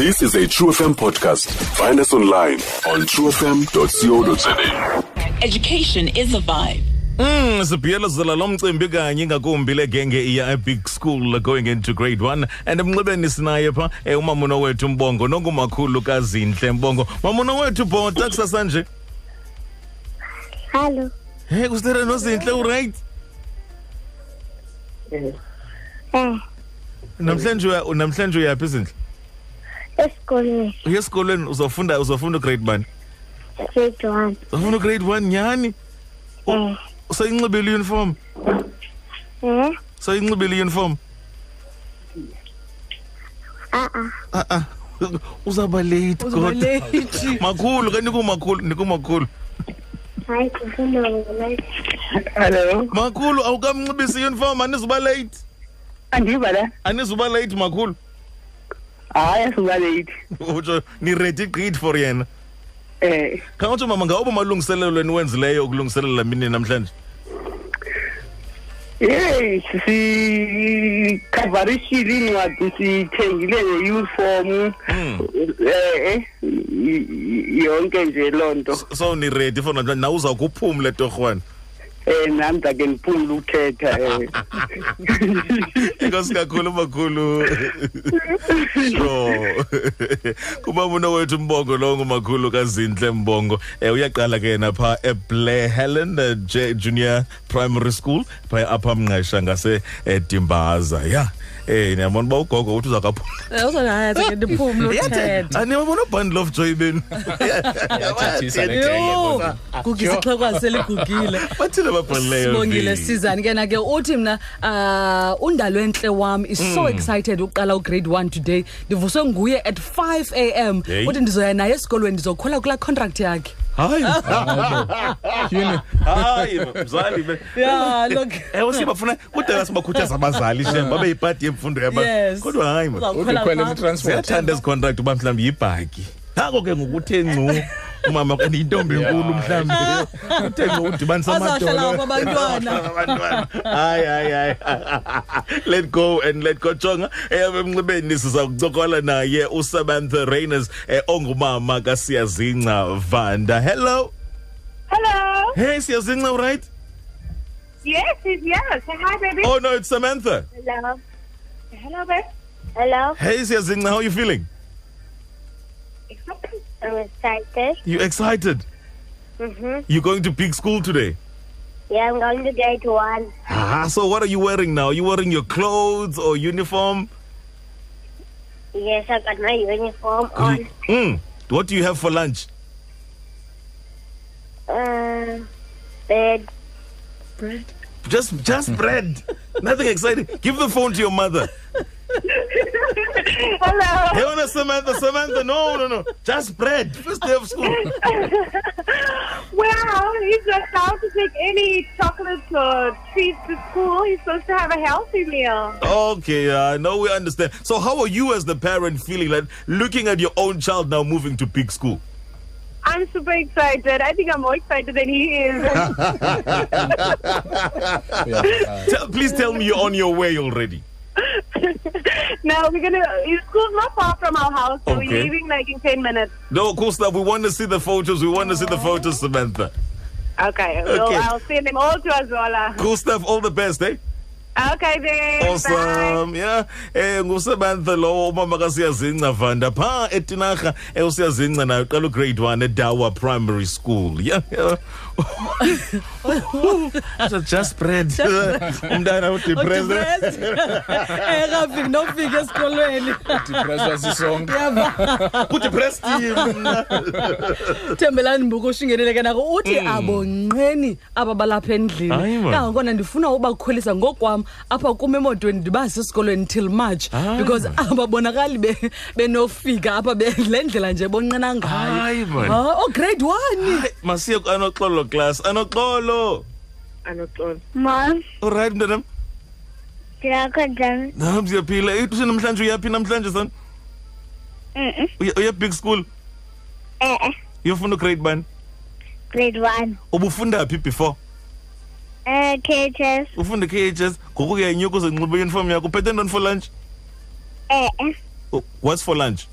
This is a True FM podcast. Find us online on truefm.co.za. Education is a vibe. Mm, sibhiyelezela lo mcimbi kanye ingakumbi le genge iya ebig school going into grade one and emnxibeni sinaye pha eh, umamuno wethu mbongo nongumakhulu kazinhle mbongo mamuno wethu bhota kusasa nje Hello. hey kusithetha nozinhle uright Eh, namhlanje uya- namhlanje uyaphi izinhle esikolweni uye esikolweni uzofunda uzofunda ugrade one grade one. uzofunda ugrade one nyhani Eh, usayinxibile iuniform eh, usayinxibile iuniform ah, ah ah uzaba late god late makhulu kanti kumakhulu ndikumakhulu hayi kufunda ngolwazi. Hello. makhulu awukamnxibisi iuniform anizuba late Andiva la. anizuba late makhulu Hayi suka late. utsho niredi gqid for yena Eh, khawutsho mama ngawuba malungiselelo niwenzileyo ukulungiselela mini namhlanje hey, si kavarishile incwadi sithengile neuniform. Mm. Eh, y- y- yonke nje lonto. so niredi for namhlanje nawe uzawukuphumle torhwana Eh, nami ndake ngiphumule ukhetha eh. inkosi kakhulu makhulu sure kumamuno wethu mbongo lowo ngumakhulu kazinhle mbongo um uyaqala ke yena pha eblair helen eh, J- junior primary school pha apha mnqesha ngasedimbaza ya um niyabona uba ugogo uthi uzakaphuma uzonayateke ndiphumle uthetha anibabona ubundle of joy benu Yathathisa le yho gugisa ixhekwazi seligugile bathile babhalileyo sibongile Vili? sizani ke na ke uthi mna um undalwentle wam is so Hmm. excited ukuqala ugrade one today ndivuswe nguye at 5 a m Hey. uthi ndizoya naye esikolweni ndizokhwela kulaa contract yakhe hayi hayi mzali be ya lok ewe sibafuna kudala sibakhuthaza abazali shem babe yipati yemfundo yaba yes kodwa hayi ma ukhwele Uzawukhwela phaa. kwi-transport ziyathanda ezi contract uba mhlawumbi yibhaki nako ke ngokuthe ngcu umama ndiyintombi enkulu mhlawumbi uthe ngcu udibanisa Azawuhlala kwabantwana. Abantwana. hayi hayi hayi let go and let go jonga eyam emnxibeni siza kucokola naye usamantha rainers eh, ongumama kasiyazinca vanda hello Hello. hey siyazinca right Yes, it's yes. Hi, baby. oh no it's samantha Hello. Hello, babe. Hello, hey siyazinca how are you feeling I'm excited. you excited Mm-hmm. you going to big school today Yeah, I'm going to grade one. Ah, so what are you wearing now? Are you wearing your clothes or uniform? Yes, I got my uniform on. Mm. What do you have for lunch? Uh, bed. Just just bread. Nothing exciting. Give the phone to your mother. Hello. Hey, no, Samantha, Samantha, no, no, no. Just bread. First day of school. Well, he's not allowed to take any chocolates or treats to school. He's supposed to have a healthy meal. Okay, I know we understand. So how are you as the parent feeling like looking at your own child now moving to big school? I'm super excited. I think I'm more excited than he is. Yeah. Tell, please tell me you're on your way already. no, we're gonna. His school's not far from our house, so Okay. we're leaving like in ten minutes. No, cool stuff. We want to see the photos. We want to see the photos, Samantha. Okay. So Okay. I'll send them all to Azola. Cool stuff. All the best, eh? Okay, then. Bye. awesome yeah eh ngusebantha lowo umama kasiyazinca vanda pha etinarha eh usiyazinca nayo uqala ugrade one edawa primary school yeah, yeah. So just bread umntana udepressed Depressed. engafiki nofika Eh, esikolweni Depressed sisonke. kudepressed mna. thembelani mbukusho ingenele ke nako uthi abonqeni aba balapha Mm. Hayi, endlini man. kangakona ndifuna ubakhwelisa ngokwam apha kum emotweni ndibasesikolweni till march Hayi, because man. ababonakali be- benofika apha be- le ndlela nje bonqena Hayi, ngayo man. Ah, ograde one Hayi, masiye anoxolo class anoxolo Mom, olrayithi mntanam did I go down? nam siyaphila ithuse namhlanje uyaphi namhlanje son Uya- uya big school Eh, uyofunda ugrade bani grade one. ubufunda phi before Uh, KHS. ufunde khs ngoku uyanyuka uzenxiba iuniform yakho uphethe ntoni for lunch Eh, eh, Oh, what's for lunch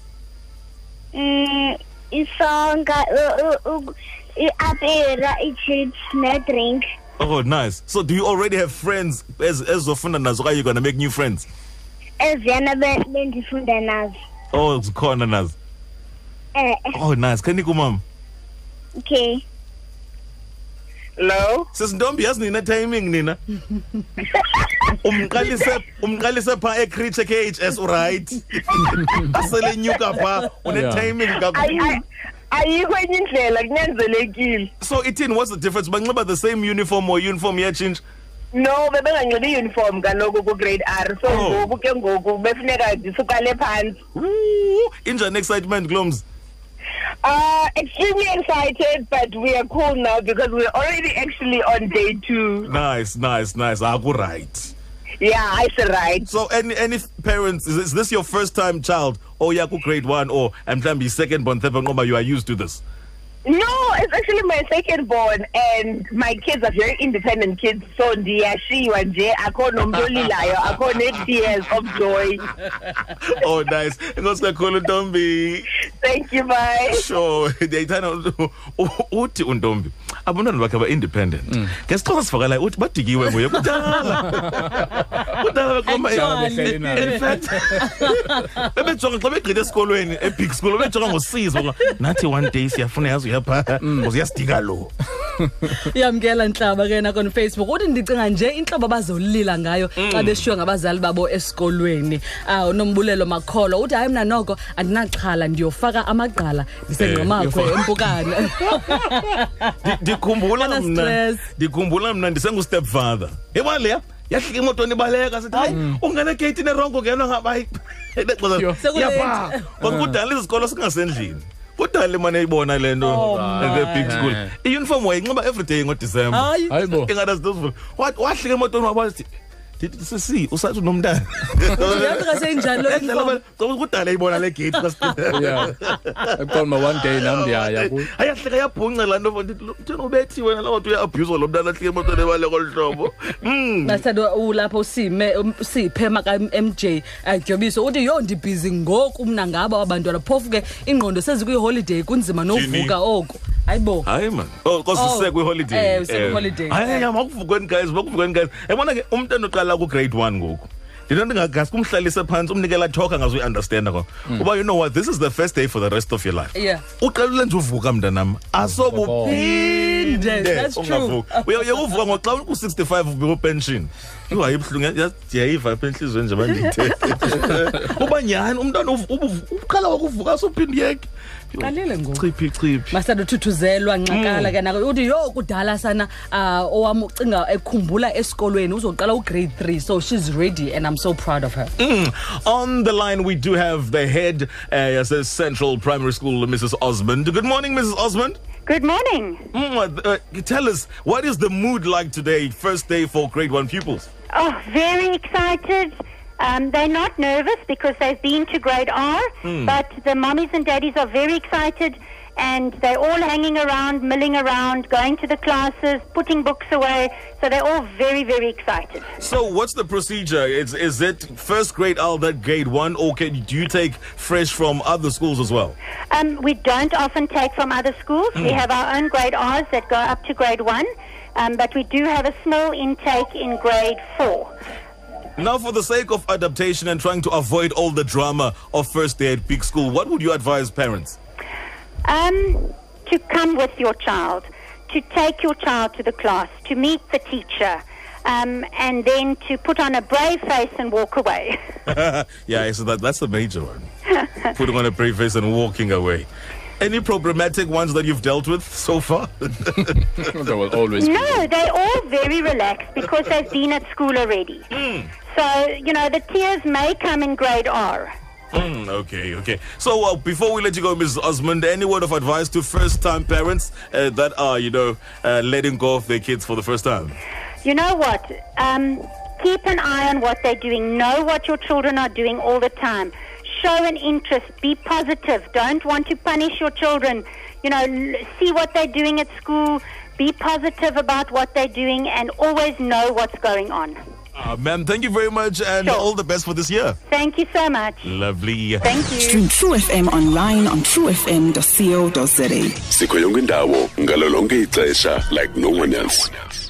mm, isonka u- u- u- iapera i-chips ne-drink Oh, nice. So, do you already have friends as as often as are you gonna make new friends? eziyana be- bendifunda nazo Oh, zikhona nazo. eh Oh, nice. Kani kumam. okay hello Sesintombi yazi nina timing nina. Umqalise umqalise pha eCreech KHS right. Asele nyuka pha une Yeah. timing kakhulu. Ayi- ayikho enye indlela kunyanzelekile So, ithini what's the difference? Banxiba the same uniform or uniform yatshintsha? no bebenganxibi i-uniform kaloku ku-grade r so Oh. ngoku ke ngoku befuneka ndisuqale phantsi Ooh, injani excitement glooms. uh extremely excited but we are cool now because we're already actually on day two Nice, nice, nice. Aku right. yeah i said right So any any parents is, is this your first time child or yaku grade Oh, 1 or and mhlambi second born third born ngoba you are used to this. no it's actually my second born and my kids are very independent kids so ndiyashiywa nje akho nomntu olilayo akho ne-tears of joy Oh nice. Inkosi kakhulu Ntombi. thank you bye Sure. Ndiyayithanda u- u- "Oh, uthi uNtombi abantwana bakhe ba independent. Ngesixhosa sivakalayo uthi badikiwe nguye kudala. Kudala bekhomba Actually. behleli nayo. in fact bebejonga xa begqithe esikolweni ebig school bebejonga ngosizo ngoba nathi one day siyafuna yazi uyapha ngoze uyasidika lo iyamkela ntlaba ke nakona facebook uthi ndicinga nje intlobo abazolila ngayo Mm. xa beshiywe ngabazali babo esikolweni um unombulelo makholo uthi hayi mna noko andinaxhala ndiyofaka amagqala ndisengqamakhwe Eh, empukane Ndi- ndikhumbula Kana mna stress. ndikhumbula mna ndisengustep father yeba leya yahlika emotweni ibaleka sithi hayi Mm. ungena egeyitini erongo ngena ngabayi Yho. Sekulate. kudala izikolo singasendlini kudala imane ibona le nto Oh, the big my. school iyuniform wayinxiba everyday ngodisemba hayi hayi bo ingatazitozivula wahlika emotweni wabathi sisi usathi unomntana uyazi kasenjani lo Yadlala uniform? ba- ngoba kudala ibona le geyithi xa- yeah eqonda uba one day nam ndiyaya kuyo ayahleka yabhunca laa nto njena ubethi wena laa nto uyaabhuzwa lo mntana ahlike emotweni ebalekolu hlobo Mm. basithatha ulapho sime um, siphe maka-mj adyobise eh, uthi yho ndibhizi ngoku mna ngaba abantwana phofu ke ingqondo sezikuyiholiday kunzima Jimmy. novuka oko hayi bo hayi man oh Oh, kose eh, usekwiholiday usekwiholiday. makuvukweni guys makuvukweni guys ebona ke umntana oqala kugrade one ngoku ndinto ndingagasi kumhlalise phantsi umnikela thoka ngazuyiunderstanda kwa uba you know what this is the first day for the rest of your life Hmm. Yeah. uqelule nje uvuka mntanam Phinde, asobuphinde that's true. ungavuki uyeke uvuka ngoxa uku-65 ubekopenshini ihayi buhlungu ndiyayiva apha entliziyo nje bandiyithe uba nyhani umntana uv- ubuv- uqala wakuvuka asophinde yeke Qalile ngoku. chiphi chiphi masanda uthuthuzelwa nxakala ke nako uthi yho kudala sana um owam ucinga ekhumbula esikolweni uzoqala ugrade three so she's ready and i'm so proud of her Mm. On the line, we do have the head uh, yase Central Primary School, Mrs. Osmond. Good morning, Mrs. Osmond. Good morning. Mm, uh, uh, tell us, what is the mood like today, first day for grade one pupils? Oh, very excited. Um, they're not nervous because they've been to grade R, but the mummies and daddies are very excited and they're all hanging around, milling around, going to the classes, putting books away. So they're all very, very excited. So, what's the procedure? Is, is it first grade out that grade one, or can, do you take fresh from other schools as well? Um, we don't often take from other schools. We Hmm. have our own grade R's that go up to grade 1, um, but we do have a small intake in grade 4. Now, for the sake of adaptation and trying to avoid all the drama of first day at big school, what would you advise parents? Um, to come with your child, to take your child to the class, to meet the teacher, um, and then to put on a brave face and walk away. yeah, so that, that's the major one. Putting on a brave face and walking away. Any problematic ones that you've dealt with so far? there will always be No, they're all very relaxed because they've been at school already. Hmm. So, you know, the tears may come in grade R. Mm, okay, okay. So uh, before we let you go, Mrs. Osmond, any word of advice to first-time parents uh, that are, you know, uh, letting go of their kids for the first time? You know what? Um, keep an eye on what they're doing. Know what your children are doing all the time. Show an interest. Be positive. Don't want to punish your children. You know, l- see what they're doing at school. Be positive about what they're doing and always know what's going on. Ah, ma'am, thank you very much and all the best for this year. Thank you so much. Lovely. Thank you. Stream True FM online on truefm.co.za. sikho yonke indawo ngalo lonke ixesha like no one else